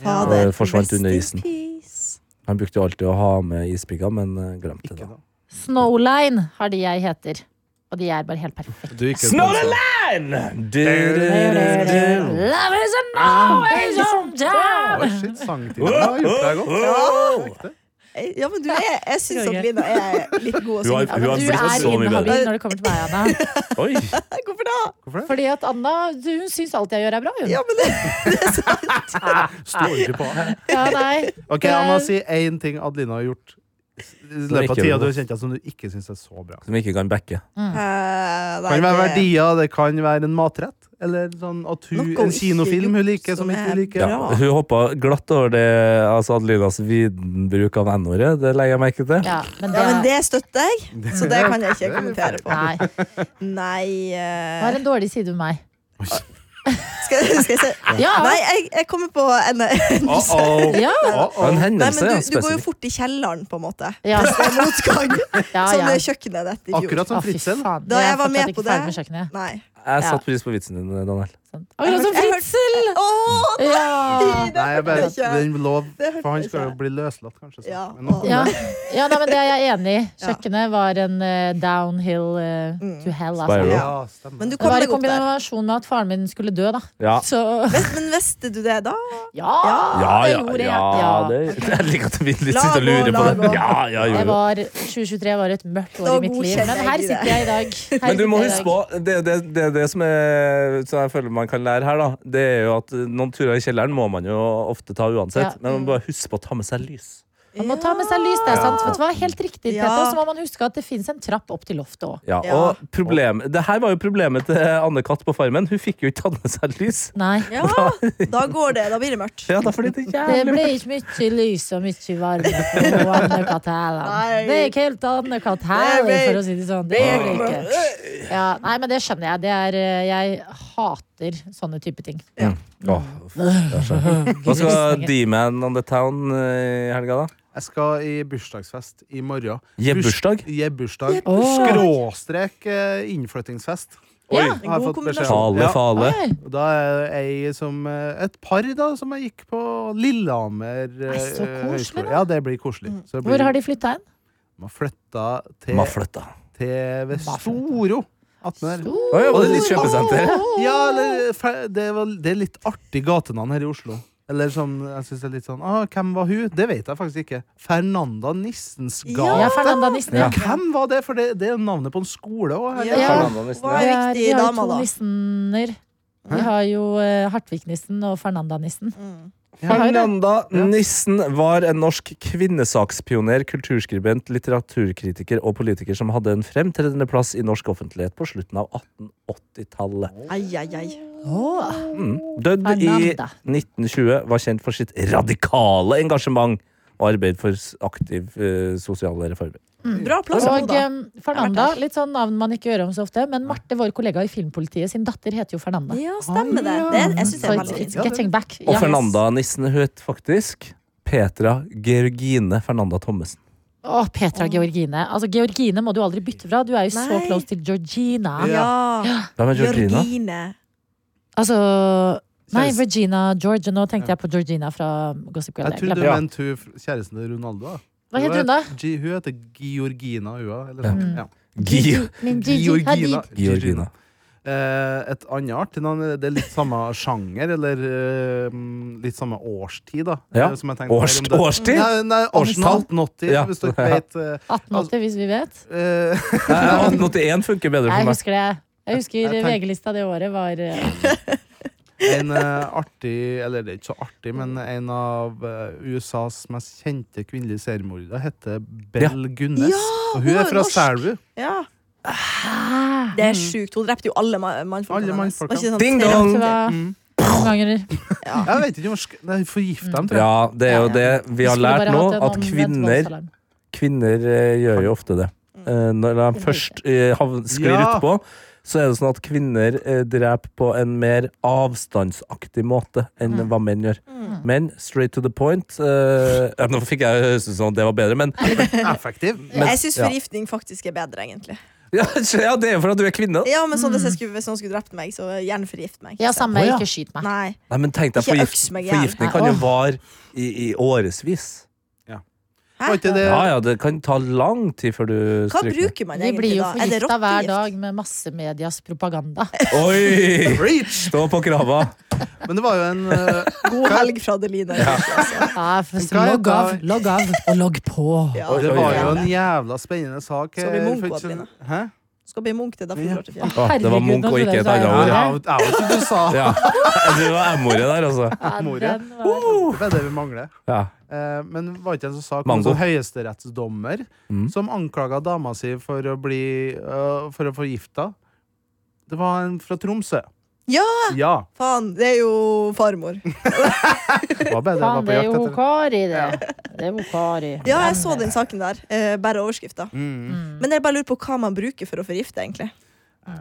fader.
Ja, forsvant
Rest
under
in
isen.
peace.
Han brukte jo alltid å ha med ispigger, men eh, glemte det.
Ikke da.
Snowline har de jeg heter. Og de er bare helt perfekte.
Du er ikke
Snorre Land! Du, du, du, du.
Love is an always on time.
Oi, sånn- shit, sangtimen har gjort deg godt. Jeg likte det.
Eh, Ja, men du er, jeg syns at Lina er litt god å
Hun har-
synge.
Ja, men
har
du
blitt så
er
mye
inhabil
bedre.
når det kommer til meg, Anna.
Oi!
Hvorfor da?
Hvorfor det?
Fordi at Anna du, hun syns alt jeg gjør, er bra. Hun.
Ja, men det,
Står ikke på.
Ja, nei.
Ok, Jeg må si én ting Adelina har gjort i løpet av
ikke
tida
gjorde
du
det.
har kjent deg som du ikke syns er så bra.
Som ikke kan backe.
Eh,
Det
nei,
kan være
det-
verdier, det kan være en matrett. Eller sånn at hun,
Noe hun
en kinofilm hun
ikke
liker,
gjorde
som
som
ikke
er
hun liker.
Ja, hun hoppa glatt over det altså Adelinas videnbruk av n-ordet. Det legger jeg merke til.
Ja, men det,
Ja, men det støtter jeg, så det kan jeg ikke kommentere på.
Nei.
Nei
Hun har
eh,
en dårlig side ved meg.
Skal, skal jeg se?
Ja.
Ah, Nei, jeg, jeg kommer på en, en
Uh-oh.
Ja.
Det var En
Nei,
hendelse,
men
ja,
du, du går jo
spesifikt.
fort i kjelleren, på en måte.
Ja.
Hvis det er sånn- motgang.
Ja,
Som
ja.
det kjøkkenet ditt i fjor.
Akkurat som
Å, fy
Fritzen.
faen,
sånn Da
det er
jeg var
fortsatt
med
ikke
på det.
ferdig med kjøkkenet.
Nei.
Jeg
Ja.
satt pris på vitsen din, eh, Daniel.
Sånn. Akkurat som
Jeg hørte-
Fritzen!
Åh, nei,
Ja.
det
Nei, jeg bare,
hørte jeg ikke.
den lov,
Det hørte
for han
jeg
skal jo
ikke.
bli løslatt, kanskje.
Ja.
snart. Men nå-
Ja, ja nei, men det er jeg enig i. Kjøkkenet var en eh, downhill eh, to hell.
Spiral.
Altså.
Ja.
Ja, stemmer.
Men du
Det
Mm. kom
var i
deg opp der.
kombinasjon med at faren min skulle dø, da.
Ja.
Så
Vet- Men visste du det da?
ja,
Ja,
det
ja,
gjorde jeg.
ja,
Ja.
det, jeg liker at vi litt
Lag
sitter og lurer
og
på
lag
det.
og-
Ja, ja, jo,
Jeg
jo.
var, 2023 var et mørkt år
Da
i mitt liv,
godkjenner
men
jeg
her
det.
sitter jeg i dag. Her
Men du må
sitter jeg i
huske
dag.
på, det, det, det, det som er, som jeg føler man kan lære her, da, det er jo at noen turer i kjelleren må man jo ofte ta uansett.
Ja.
Men man må bare huske på å ta med seg lys.
Man må ta med seg lys, det er sant. Vet du hva? Helt riktig,
Ja.
Petter. Og så må man huske at det fins en trapp opp til loftet òg.
Ja,
Ja.
og problem, det her var jo problemet til Anne-Katt på Farmen. Hun fikk jo ikke tatt med seg lys.
Nei.
Ja, da går det. Da blir det mørkt.
Ja, derfor er det
Det
jævlig
ble ikke mye lys og mye varme på Anne-Kat.
Nei.
Hærland. Det er ikke helt Anne-Kat. Hærland,
Nei,
for å si det sånn. Det er det ikke. Ja, nei, men det skjønner jeg. Det er, eh, jeg hater sånne type ting.
Åh, det er så- Hva skal D-Man on the Town eh, i helga, da?
Jeg skal i bursdagsfest i morgen.
Gi bursdag?
Gi bursdag.
Åh.
Skråstrek eh, innflyttingsfest.
Ja.
Oi.
En
Har jeg
god
fått beskjed om.
Fale,
Ja.
fale.
Oi.
Og Da er ei som eh, Et par da som jeg gikk på Lillehammer eh,
Nei, så koselig,
høgskole.
da.
Ja, det blir koselig.
Mm.
Så det blir,
Hvor har de flytta hen?
Man flytta til,
Mafløtta.
til ved
Man flytta.
Storo. Attmed der.
Oi, var det nytt kjøpesenter?
Oh,
Ja, eller, fe- det, var, det er litt artig gatenavn her i Oslo. Eller som jeg synes er litt sånn ah, Hvem var hun? Det vet jeg faktisk ikke. Fernanda Nissens gate.
Ja, Fernanda Nissen. Ja.
Hvem var det? For det, det er jo navnet på en skole òg.
Ja.
Fernanda Nissen,
Hva
Det
er
er-
riktig
Vi har jo
dame,
to
da?
nissener. Vi har jo eh, Hartvig-nissen og Fernanda-nissen.
Mm.
har jo det.
Fernanda Nissen var en norsk kvinnesakspioner, kulturskribent, litteraturkritiker og politiker som hadde en fremtredende plass i norsk offentlighet på slutten av 1880-tallet.
Ai, ai, ai.
Mm. Dødd i
Fernanda.
1920, var kjent for sitt radikale engasjement og arbeid for s- aktiv eh, sosiale reformer.
Bra plass å bo,
Og
da.
eh, Fernanda, litt sånn navn man ikke hører om så ofte, men Marte, vår kollega i Filmpolitiet, sin datter heter jo Fernanda.
Ja, stemmer det. det er- jeg syns det
Så
er
it's,
veldig fint.
it's getting back.
Og
Ja.
Fernanda Nissen het faktisk Petra Georgine Fernanda Thommessen.
Å, Petra Georgine. Altså, Georgine må du aldri bytte fra. Du er jo så
Nei.
close til Georgina.
Ja.
Hvem er Georgina?
Jørgine.
Altså Nei,
Kjæreste-
Regina Georgia. Nå tenkte jeg på Georgina fra Gossip Girl.
Jeg
Jeg
trodde du
glemte.
Ja.
mente hun fr- kjæresten til Ronaldo. da.
Hva heter hun da?
Gi- Hun heter Georgina, hun òg. Eller
Ja.
noe. Ja.
Gi-
Men
Georgina.
Hadid.
Georgina.
Eh, et annet artig navn, det er litt samme sjanger, eller eh, mm, litt samme årstid, da.
Ja.
eh, som jeg tenkte på.
Årst,
Om det-
årstid?
Nei, nei
Årstall?
årstall. 1880,
Ja.
hvis dere vet. eh,
1880, hvis vi vet.
eh,
Nei, 1881 funker bedre Altså,
Jeg
for meg.
husker det. Jeg husker
Jeg tenk-
VG-lista det året var eh,
en eh, artig, eller det er ikke så artig, men en av eh, USAs mest kjente kvinnelige seriemordere heter Bell Gunnes.
Ja,
og
hun
hun
er
er fra
norsk.
Selbu.
Ja. Det
Mm.
er sjukt. Hun drepte jo alle ma-
Alle
mannfolkene. hennes. Var
mannfolkene.
ikke sånn
Ding
tre-
dong!
Det var noen ganger
Mm. Jeg vet ikke om hun sk- Nei, forgifta dem, tror jeg.
Ja, det er jo det vi har
Skulle
lært
bare
nå,
hatt en
at
omvendt
kvinner
voldsalarm.
Kvinner eh, gjør jo ofte det. Eh, når de først eh, havn- sklir
Ja.
utpå, så er det sånn at kvinner eh, dreper på en mer avstandsaktig måte enn hva menn gjør. Menn, straight to the point eh, ja, Nå fikk jeg høres ut som at det var bedre, men
Effektiv.
Men-
Jeg syns
ja.
forgiftning faktisk er bedre, egentlig.
ja, ja, det er jo for at du er kvinne. da.
Ja, men sånn, hvis, jeg skulle, hvis noen skulle drept meg, så gjerne forgift meg.
Ja, samme.
Å, ja.
Ikke skyt meg.
Nei.
Nei, men tenk deg,
Ikke
forgift,
øks meg i hjel.
forgiftning kan jo
Åh.
vare i, i årevis.
Var
Hæ?
ikke det
Ja, ja, det kan ta lang tid før du
Hva
stryker.
bruker man
Vi blir
egentlig
jo
da? Er det
forgifta hver
rottegift?
dag med massemedias propaganda.
Oi!
Reach!
Stå på krava.
Men det var jo en eh,
God helg fra Adelina.
Ja, for-
Hva er
logg av,
det?
logg av og logg på.
Ja.
Det
Oi,
var
oi,
jo
oi.
en jævla spennende sak.
Skal vi
eh,
munke
for ikke
opp
så-
igjen,
Hæ?
Skal bli munk til da får du drar til
Å,
fjellet.
det var
Herregud,
Munch
nå
og
trodde
ikke
jeg
et
du sa
annet
ja.
ord.
Jeg
ja.
jeg vet ikke hva du sa.
Ja. Det var M-ordet der, altså.
Ja, den
Moria.
var-
Uh,
Det er det vi mangler.
Ja.
Eh, Men var ikke en sånn sak om en
Mango. Mm.
sånn høyesterettsdommer som anklaga dama si for å bli eh, For å få gifta? Det var en fra Tromsø.
Ja,
Ja!
faen! Det er jo farmor.
Det var bedre. Jeg
Faen,
var på
det er
jakt
jo
etter det.
Kari, det. Det er jo Kari.
Ja,
Mm.
Mm.
jeg Mm. så den saken der. Eh, bare overskrifta. Men jeg bare lurer på hva man bruker for å forgifte, egentlig.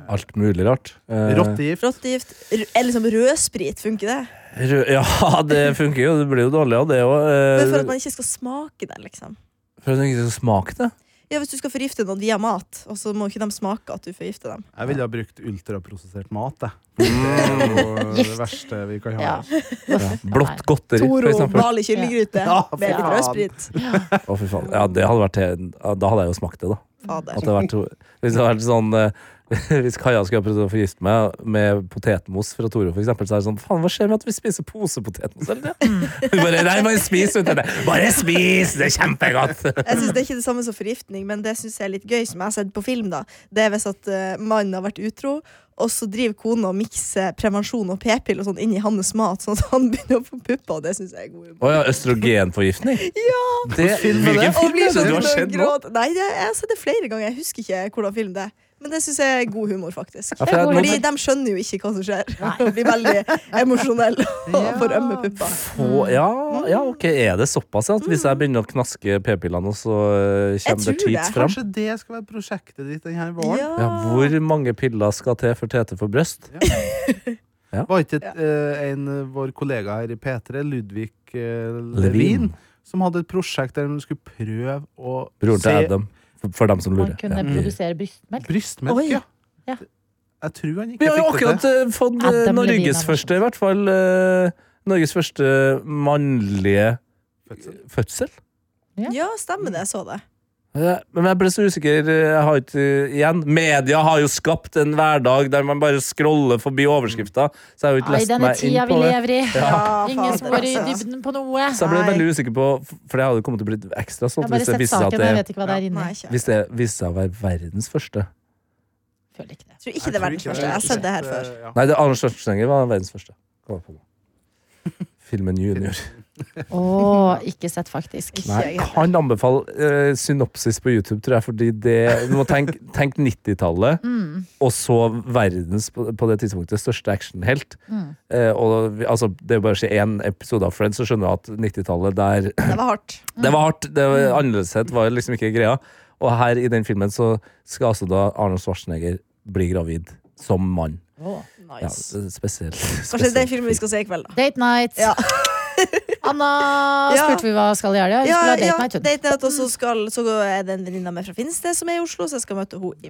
Alt mulig rart. Eh,
Rottegift.
Rottegift. r- Eller liksom rødsprit, funker det?
rød- Ja, det funker jo. Det blir jo dårlig av det òg.
Men for at
Eh,
man ikke skal smake det, liksom.
for at den ikke skal smake det.
Ja, Hvis du skal forgifte noen via mat, og så må ikke de smake at du forgifter dem.
Jeg ville ha brukt ultraprosessert mat.
Mm.
Jeg. Det er jo det
Gift.
verste vi kan ha.
Ja.
Ja. Blått godteri, for
Toro,
eksempel.
Bali kyllinggryte
Ja,
med litt
faen.
rødsprit.
Å, fy faen. Ja, det hadde vært, he- da hadde jeg jo smakt det, da. At det
Fader.
hadde vært, hvis det hadde vært sånn eh, Hvis Kaja skulle ha prøvd å forgifte meg med potetmos fra Toro, for eksempel, så er det sånn Faen, hva skjer med at vi spiser posepotetmos, eller det?
Mm.
Hun bare Nei, bare spis! vet du. Bare spis! Det er kjempegodt!
Jeg synes Det er ikke det samme som forgiftning, men det synes jeg er litt gøy, som jeg har sett på film. da Det er hvis at eh, mannen har vært utro, og så driver kona og mikser prevensjon og p-pill og sånn inn i hans mat, sånn at han begynner å få pupper. og Det synes jeg er god humor.
Å ja, østrogenforgiftning?
Ja!
Det, hvilken
Og
film er
blir
det
sånn
du har
og
sett nå?
gråter. Nei, det, jeg har sett det flere ganger. Jeg husker ikke hvordan film det er. Men det synes jeg er god humor, faktisk.
Ja, for jeg-
Fordi de skjønner jo ikke hva som skjer. De blir veldig emosjonelle og får ømme pupper.
Få, ja, ja, ok, er det såpass ja, at hvis jeg begynner å knaske p-pillene, og så eh, kommer det
tror
teats
det.
fram?
Kanskje det skal være prosjektet ditt denne våren?
Ja.
Ja, hvor mange piller skal til for Tete for bryst?
Var ikke eh, en eh, vår kollega her i P3, Ludvig eh, Levin,
Levin.
som hadde et prosjekt der de skulle prøve å
Broren til Adam, for, for dem som
Man
lurer.
kunne
Ja.
produsere brystmelk.
brystmelk.
Oi.
Ja.
Ja.
Jeg tror han
Vi
ikke
har jo
fikk det
akkurat
til.
eh, fått eh,
Adam Levine er
Norges
morsom.
første, i hvert fall eh, Norges første mannlige
Fødsel.
fødsel.
Ja, stemmer det. Jeg så det.
Ja, Eh, Men jeg ble så usikker. eh, Jeg har ikke, igjen, media har jo skapt en hverdag der man bare scroller forbi overskrifter. Så jeg har jo ikke
I
lest
denne
meg inn
tida vi
på det.
lever i.
Ja,
Ingen som går i
fader, altså.
dybden på noe.
Så jeg ble
Nei.
veldig usikker på For jeg hadde kommet til å bli ekstra
Jeg
stolt hvis
har bare
det
sett
viste seg
saken,
at
og jeg
det,
vet ikke hva det er inni.
Nei, ikke.
hvis det viste seg å være verdens første.
Føler ikke det.
Jeg tror ikke det er verdens første. Jeg har sett det her før.
Ja.
Nei, det Arne Schwarzenegger var verdens første. Kom på nå. Filmen Junior.
Åh, ikke sett, faktisk.
Ikke
Nei,
jeg heller.
kan anbefale eh, synopsis på YouTube, tror jeg. Fordi det, du må tenke tenk 90-tallet,
Mm.
og så verdens på, på det tidspunktet største actionhelt.
Mm.
Eh, og vi- altså, det er jo bare å se én episode av Friends, så skjønner du at 90-tallet der
Det var hardt.
Det var hardt. det
Mm.
var Annerledeshet var liksom ikke greia. Og her i den filmen så skal altså da Arnold Schwarzenegger bli gravid som mann.
Åh.
Ja,
Nice.
spesielt.
Kanskje det er den filmen vi skal se i kveld, da.
Date night.
Ja.
Anna
Ja.
spurte vi hva skal i helga. Hun skulle ha date night. hun.
date night, og så, skal, så er det en venninne av meg fra Finnsted som er i Oslo, så jeg skal møte henne i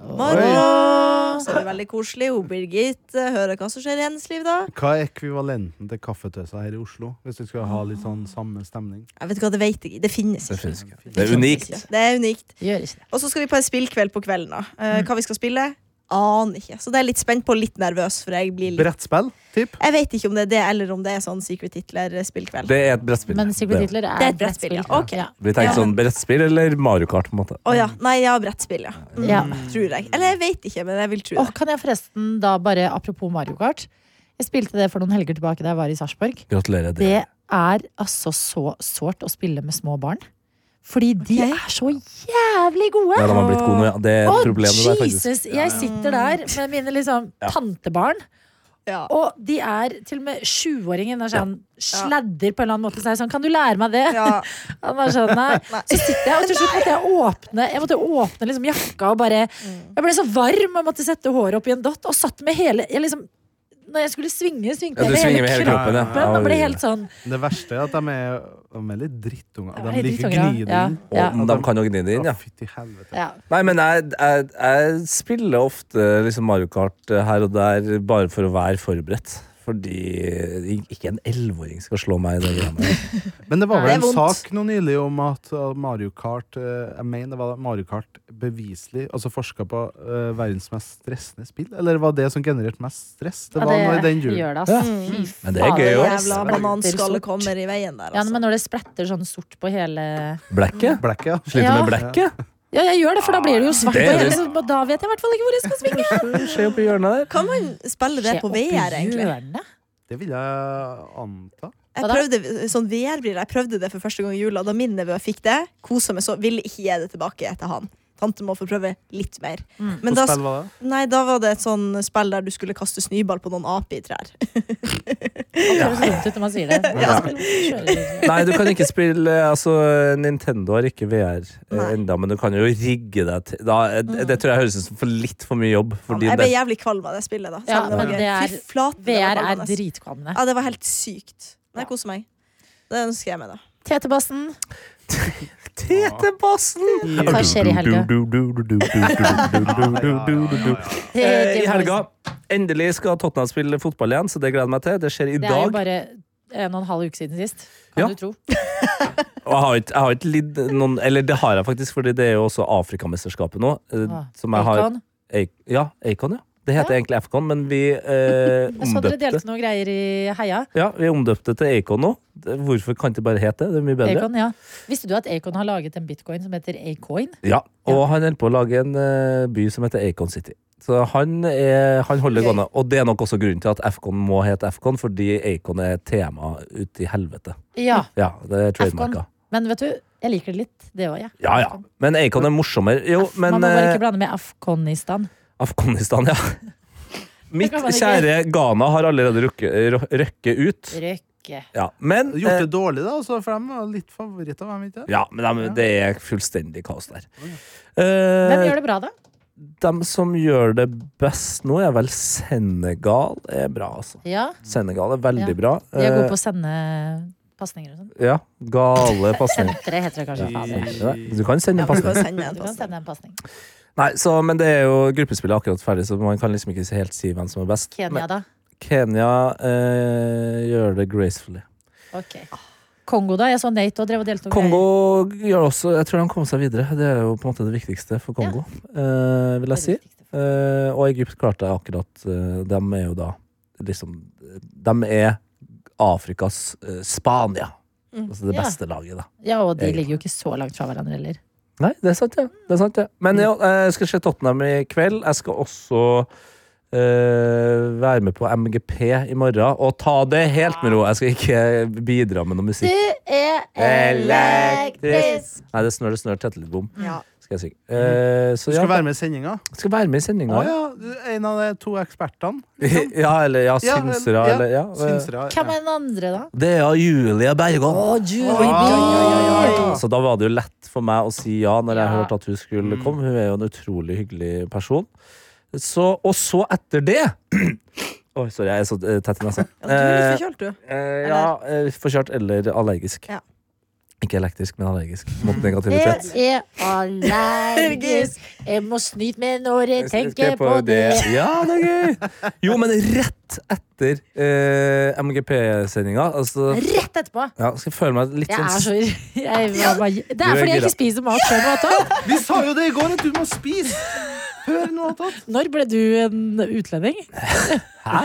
morgen. Så er det veldig koselig. Hun Birgitte hører hva som skjer i hennes liv da.
Hva er ekvivalenten til kaffetøsa her i Oslo? Hvis du skal ha litt sånn samme stemning.
Jeg vet ikke hva, det vet jeg ikke. Det finnes
Det
ikke.
finnes ikke. Det er unikt.
Det er unikt.
Gjør ikke det.
Og så skal vi på en spillkveld på kvelden, da. Eh,
Mm.
hva vi skal spille? Aner ikke. Så det er jeg litt spent på, litt nervøs, for jeg blir litt
Brettspill? Tipp?
Jeg vet ikke om det er det, eller om det er sånn Secret Hitler-spillkveld.
Det er et brettspill.
Men
Det er-
Secret Hitler er,
Det er et brettspill, ja. Ok.
Ja.
Vi tenker sånn brettspill eller Mario Kart, på en måte.
Å ja. Nei, ja, brettspill, ja. Mm,
Ja.
Tror jeg. Eller jeg vet ikke, men jeg vil tro
Og
det.
kan jeg forresten da bare, apropos Mario Kart Jeg spilte det for noen helger tilbake da jeg var i Sarpsborg.
Gratulerer. Det.
Det er altså så sårt å spille med små barn. Fordi de
Ok.
er så jævlig gode!
Ja, de har blitt gode nå, ja. Det er
Å,
et problem med det, faktisk.
Jesus! Jeg sitter der med mine liksom tantebarn,
Ja.
og de er til og med sjuåringen er sånn sladder på en eller annen måte. Så er jeg sånn, kan du lære meg det?
Ja.
Han var sånn, nei. Så sitter jeg, og til slutt måtte jeg åpne Jeg måtte åpne liksom jakka og bare
Mm.
Jeg ble så varm og måtte sette håret opp i en dott og satt med hele jeg liksom, Når jeg skulle svinge, svingte
Ja,
jeg
du
med
svinger med hele kroppen, ja.
kroppen og ble helt sånn
Det verste er at de er, de er litt drittunger.
Ja,
De liker
drittunger, ja.
gniding.
Ja, ja.
Og de kan jo gni det inn, ja.
Å, Fytti helvete.
ja.
Nei, men jeg, jeg, jeg spiller ofte liksom Mario Kart her og der bare for å være forberedt. Fordi ikke en elleveåring skal slå meg i det greiene.
Men det var
Det
vel
er
en
vondt.
sak nå nylig om at uh, Mario Kart uh, Jeg mener det var Mario Kart beviselig Altså forska på uh, verdens mest stressende spill. Eller var det som genererte mest stress? Det
Ja,
var nå i den
det
julen.
gjør det, altså.
Men det er
Fader,
gøy
jo.
òg.
Jævla
Spretter
bananskallet
sort.
kommer i veien der,
Ja,
altså.
men når det spretter sånn sort på hele
Blekket.
Blekket, ja.
Sliter
Ja.
med blekket.
Ja, jeg gjør det, for da blir det jo svart
Det
på
er
hele,
det.
så da vet jeg i hvert fall ikke hvor jeg skal svinge.
Skje oppi hjørnet der.
Kan man spille det på VR, egentlig?
Det vil jeg anta.
Jeg
Hva da?
prøvde, sånn VR-briller, jeg prøvde det for første gang i jula. Da min nevø fikk det, kosa meg så, ville ikke gi det tilbake til han. Tante må få prøve litt mer.
Mm.
Men da,
Hvordan spill var det?
nei, da var det et sånn spill der du skulle kaste snøball på noen aper i trær.
Det høres dumt ut når man sier det.
Ja.
Kjører-
Nei, du kan ikke spille eh, Altså, Nintendo har ikke VR eh,
Nei.
enda, men du kan jo rigge deg til da, eh, det, det tror jeg høres ut som for litt for mye jobb. For
jeg
din
ble
del.
jævlig kvalm av det spillet, da.
Ja,
Selv om det var
men
gøy.
det er-
Fy flate, det var
VR er
kvalmende.
dritkvalmende.
Ja, det var helt sykt. Nei,
Ja.
koser meg. Det ønsker jeg meg, da.
TT-bassen.
Tetebassen!
Hva skjer i helga?
Eh, I helga Endelig skal Tottenham spille fotball igjen, så det gleder jeg meg til. Det skjer i
Det er jo
dag.
bare en og en halv uke siden sist. Kan
Ja.
du tro.
Og jeg har ikke, jeg har ikke lidd noen Eller det har jeg faktisk, Fordi det er jo også Afrikamesterskapet nå. eh,
Ah,
Som jeg har
Akon.
Eik- Ja, Acon, ja. Det heter
Ja.
egentlig Afcon, men vi eh,
Jeg så dere
omdøpte
delte noen greier i Heia.
Ja, vi omdøpte til Acon nå. Det- Hvorfor kan det ikke bare hete det? Det er mye bedre.
Akon, ja. Visste du at Acon har laget en bitcoin som heter Acoin?
Ja, Og han holder på å lage en eh, by som heter Acon City. Så han, er, han holder det
Gøy.
gående. Og det er nok også grunnen til at Afcon må hete Afcon, fordi Acon er et tema ut i helvete.
Ja.
Ja, det er trademarka.
Men vet du, jeg liker det litt, det òg, jeg.
Ja, ja. Men Acon er morsommere. Jo, men
Man må bare
eh,
ikke blande med Afghanistan.
Afghanistan, ja. Mitt
kan man ikke.
kjære Ghana har allerede rukket, røkket ut.
Røkke.
Ja, men
Gjort det dårlig, da? Altså, for de var litt favoritter, var de ikke?
Eh. Ja, men de, det er fullstendig kaos der.
Hvem
Eh,
gjør det bra, da?
de som gjør det best nå, er vel Senegal. er bra, altså.
Ja,
Senegal er
Ja.
veldig bra.
De er gode
Eh,
på å sende pasninger og sånn.
ja, Gale pasninger.
Sentre heter det kanskje. Fader.
Du kan sende
Ja,
en
men du kan
pasning.
sende meg en
Du kan
pass.
sende en pasning.
Nei, så, men det er jo gruppespillet akkurat ferdig, så man kan liksom ikke helt si hvem som er best.
Kenya,
Men
da?
Kenya eh, gjør det gracefully.
Ok. Kongo, da? Jeg så Nate og drev og delte noen
Kongo gjør også Jeg tror de kom seg videre. Det er jo på en måte det viktigste for Kongo, eh, vil
greier.
jeg si. Eh, og Egypt klarte jeg akkurat uh, De er jo da liksom De er Afrikas eh, Spania.
Mm.
Altså det
Ja.
beste laget, da.
Ja, og de ligger jo ikke så langt fra hverandre heller.
Nei, det er sant, ja. Det er sant, ja. Men ja, jeg skal se Tottenham i kveld. Jeg skal også eh, være med på MGP i morgen. Og ta det helt med ro. Jeg skal ikke bidra med noe
Du
musikk.
er
elektrisk. Nei, det snør, det snør, tettelbom,
Ja.
skal jeg synge. Eh, så
Du
ja,
skal være med i sendinga?
skal være med i sendinga.
Å ja. du- En av de to ekspertene.
ja, eller ja,
Ja,
synsere,
ja,
eller ja. eh,
Syns dere?
Hvem er den andre, da?
Det er Julie Bergan.
Oi.
Så da var det jo lett for meg å si ja når jeg
Ja.
hørte at hun skulle komme. Hun er jo en utrolig hyggelig person. Så, og så etter det Oi, sorry, jeg er så eh, tett i nesa.
Ja, du er litt forkjølt, du.
Eh, ja, eh, forkjørt eller allergisk.
Ja.
Ikke elektrisk, men allergisk. Mot negativitet.
Jeg er allergisk. Jeg må snyte meg når jeg tenker på det.
Ja, det er gøy! Jo, men rett etter eh, MGP-sendinga altså,
Rett etterpå.
ja, Skal jeg føle meg litt
Jeg
sånn
er så jeg var bare, Det
Du
er
er
fordi jeg
gira.
ikke spiser mat sjøl. Anton.
Vi sa jo det i går, at du må spise! Hør nå, Tott.
Når ble du en utlending?
Hæ?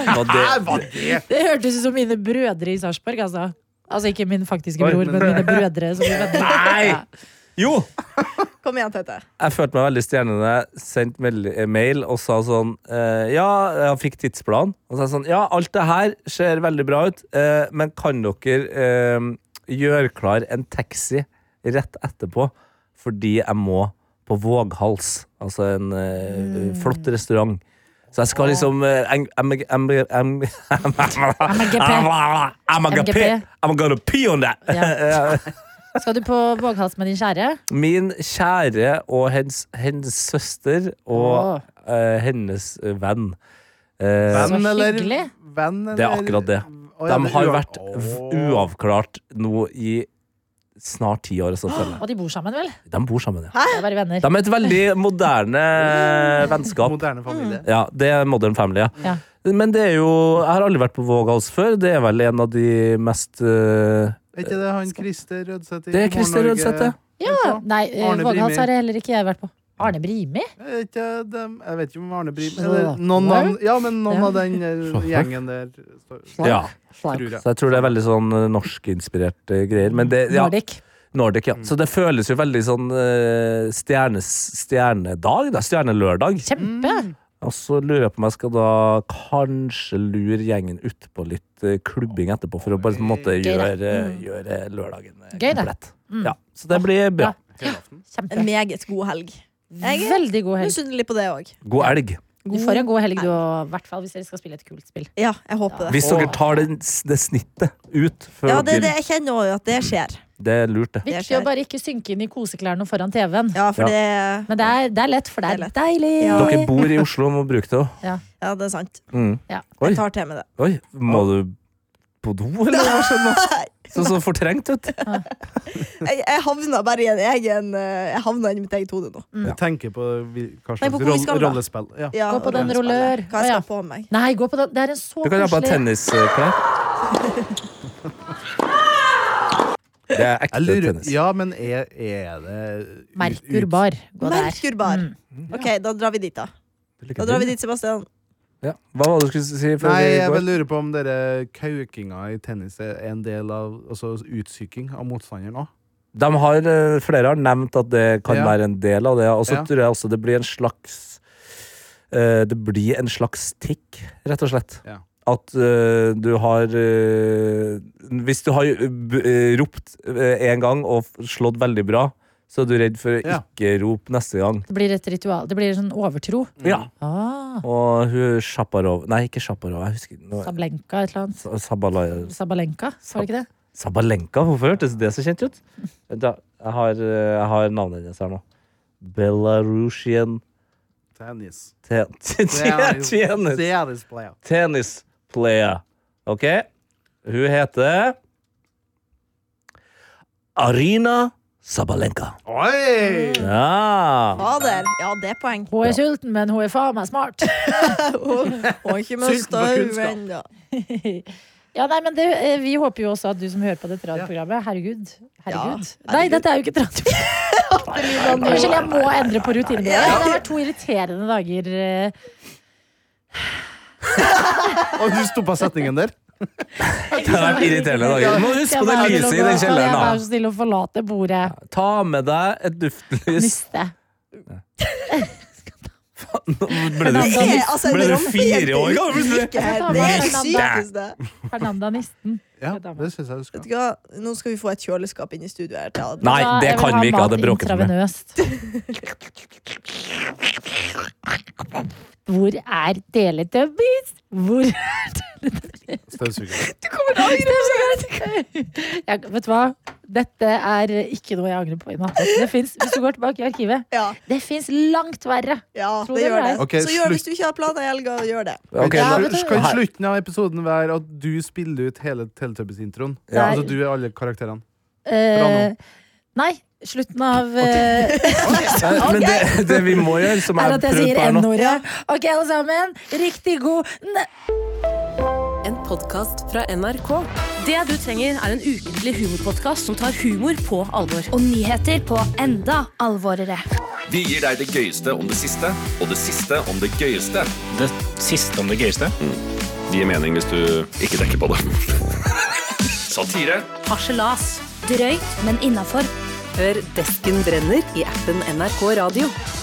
Var det,
Hæ, var det?
Det hørtes ut som mine brødre i Sarpsborg, altså. Altså ikke min faktiske
Oi,
bror,
men-
men mine brødre som vi venner.
Nei!
Ja.
Jo!
Kom igjen, Tete.
Jeg følte meg veldig stjerne da jeg sendte mel- eh, mail og sa sånn eh, Ja, jeg fikk tidsplan. Og så sa jeg sånn Ja, alt det her ser veldig bra ut, eh, men kan dere eh, gjøre klar en taxi rett etterpå? Fordi jeg må på Våghals, altså en eh, flott restaurant. Så jeg skal liksom eh, eng- MG Ah, MGP.
MGP.
I'm gonna pee on that!
Skal du på Våghals med din kjære?
Min kjære og hens, hennes søster og
Åh.
eh, hennes eh, venn. Eh,
Så hyggelig.
venn, eller
Det er akkurat det.
Å, ja,
de
det er
har
uav-
vært v- uavklart nå i snart ti år. Så føler jeg.
Og de bor sammen, vel?
De bor sammen, ja.
De er bare venner.
De er et veldig moderne vennskap.
Moderne familie.
Ja, det er Modern Family, ja.
Ja.
Men det er jo Jeg har aldri vært på Våghals før. Det er vel en av de mest eh,
Er ikke det han Christer Rødseth i
Det er
God morgen,
Christer
Norge?
Rødseth, ja.
Ja.
Nei, eh,
Arne Brimi.
Våghals har heller ikke jeg vært på. Arne Brimi?
Er ikke dem- Jeg vet ikke om Arne Brim
Slå.
Eller noen av, Ja, men noen
Ja.
av den eh, gjengen der. står-
ja.
Slag.
Tror jeg.
Så jeg tror det er veldig sånn eh, norskinspirerte greier. Men det, ja,
Nordic.
Nordic, ja. Så det føles jo veldig sånn eh, stjernes, stjernedag, da. Stjernelørdag.
Kjempe!
Og så lurer jeg på om jeg skal da kanskje lure gjengen ut på litt eh, klubbing etterpå, for å bare på en måte
Gøy, da.
gjøre, gjøre lørdagen eh,
Gøy, da.
komplett.
Mm.
Ja, så det blir bra.
Kjempe.
En meget god helg. Jeg er
Veldig god helg.
misunnelig på det òg.
God elg.
Du får en god helg, du òg. I hvert fall hvis dere skal spille et kult spill.
Ja, jeg håper det.
Hvis dere tar den, det snittet ut før
Ja, det, er det,
dere
jeg kjenner òg at det skjer.
Det er lurt, det.
Det
Viktig
skjer.
å bare ikke synke inn i koseklærne foran TV-en.
Ja, for
Ja.
det
Men det er, det er lett, for det er
Det
deilig.
Dere bor i Oslo og må bruke det òg.
Ja, det er sant.
Mm.
Ja.
Oi,
Jeg tar til meg det.
oi, må du på do, eller hva skjedde? Sånn så fortrengt, vet du.
Jeg, jeg havna bare i en egen eh, Jeg havna i mitt eget hode nå.
Jeg tenker på vi- hva
Nei,
slags
på hvor vi
roll-
skal, da.
rollespill. Ja.
Ja,
Gå på den
rollespillet.
rullør.
Hva
Å,
jeg
ja.
skal på meg.
Nei, gå på den. Det er en så
Du kan ha på eh, deg
koselig
tennisklær. Det er ekte
Jeg lurer,
tennis.
ja, men er, er det ut-
Merkurbar. Gå der. Mm.
Merkurbar. OK, da drar vi dit, da. Da drar vi
Mm.
dit, Sebastian.
Ja. Hva var det du skulle si før
Nei,
vi
jeg
går?
vil lure på om dere kaukinga i tennis er en del av altså, utsyking av motstanderen òg.
De har, eh, flere har nevnt at det kan
Ja.
være en del av det. Og så
Ja.
tror jeg også det blir en slags eh, Det blir en slags tikk, rett og slett.
Ja.
At eh, du har eh, Hvis du har eh, b- eh, ropt én gang og f- slått veldig bra, så er du redd for å
Ja.
ikke rope neste gang.
Det blir et ritual. Det blir en sånn overtro.
Mm.
Ja.
Ah,
Og hun Sjaparov Nei, ikke Sjaparov. Jeg husker nå-
Sablenka, et eller annet.
Sa- Sabala-
Sabalenka, var det ikke det?
Sabalenka, hvorfor hørtes det så kjent ut? Vent da, jeg har, eh, jeg har navnet hennes her nå. Belarusian
Tennis.
te- te- tennis
Tennis player.
Tennis player. Ok? Hun heter Arina Sabalenka.
Oi!
Ja!
Fader. Ja, det er poeng.
Hun er sulten, men hun er faen meg smart.
Og ikke med
Sulten på kunnskap.
stauen, da.
ja, nei, men det, eh, Vi håper jo også at du som hører på dette radioprogrammet Herregud. herregud.
Ja,
Nei,
herregud.
dette er jo ikke et radioprogram. Unnskyld, jeg må endre på rutinene mine. Det har vært to irriterende dager. eh.
Og du stoppa setningen der?
Det har vært irriterende dager. Du må huske
Skal
på
jeg
det
være
lyset i
så-
den
skal Jeg
kjelleren.
være
da.
så snill å forlate bordet.
Ta med deg et duftlys.
Nyste.
Ble du,
Fernanda,
fi-
Det er altså en
ble du
rampejente
fire år gammel?
uten
plutselig?
like her.
Jeg tar
Det
meg
er
en
sykest, det.
Fernanda Nisten.
Ja, det syns jeg du skal.
Vet du hva, nå skal vi få et kjøleskap inn i studio her. Til alle.
Nei,
Da,
det
jeg vil
kan vi ikke ha.
mat
Det bråker for meg.
intravenøst. Hvor er Teletubbies? Hvor er
Støvsuger.
Du kommer til å angre på det! Jeg- Vet du hva? Dette er ikke noe jeg angrer på i natt. Det finnes, hvis du går tilbake i arkivet,
Ja,
det fins langt verre.
ja
Tror
det
det
gjør det.
er.
Ok,
Så gjør
slutt.
det hvis du ikke har planer i helga, gjør det.
Ok,
Ja,
nå-
men det-
Kan slutten av episoden være at du spiller ut hele Teletubbies-introen?
Ja.
Altså du er alle karakterene.
Eh, nei, slutten av eh,
Nei, Men det, det vi må gjøre, som
er
jeg
at jeg
prøvde
sier
på her nå
N-ordet. Ok, alle sammen. Riktig god n-
En podkast fra NRK. Det du trenger, er en ukentlig humorpodkast som tar humor på alvor.
og nyheter på enda alvorere.
Vi gir deg det gøyeste om det siste, og det siste om det gøyeste. Mm.
Det siste om det gøyeste.
Det gir mening hvis du ikke tenker på det. Satire.
Harselas.
Drøyt, men innafor.
Hør Desken brenner i appen NRK Radio.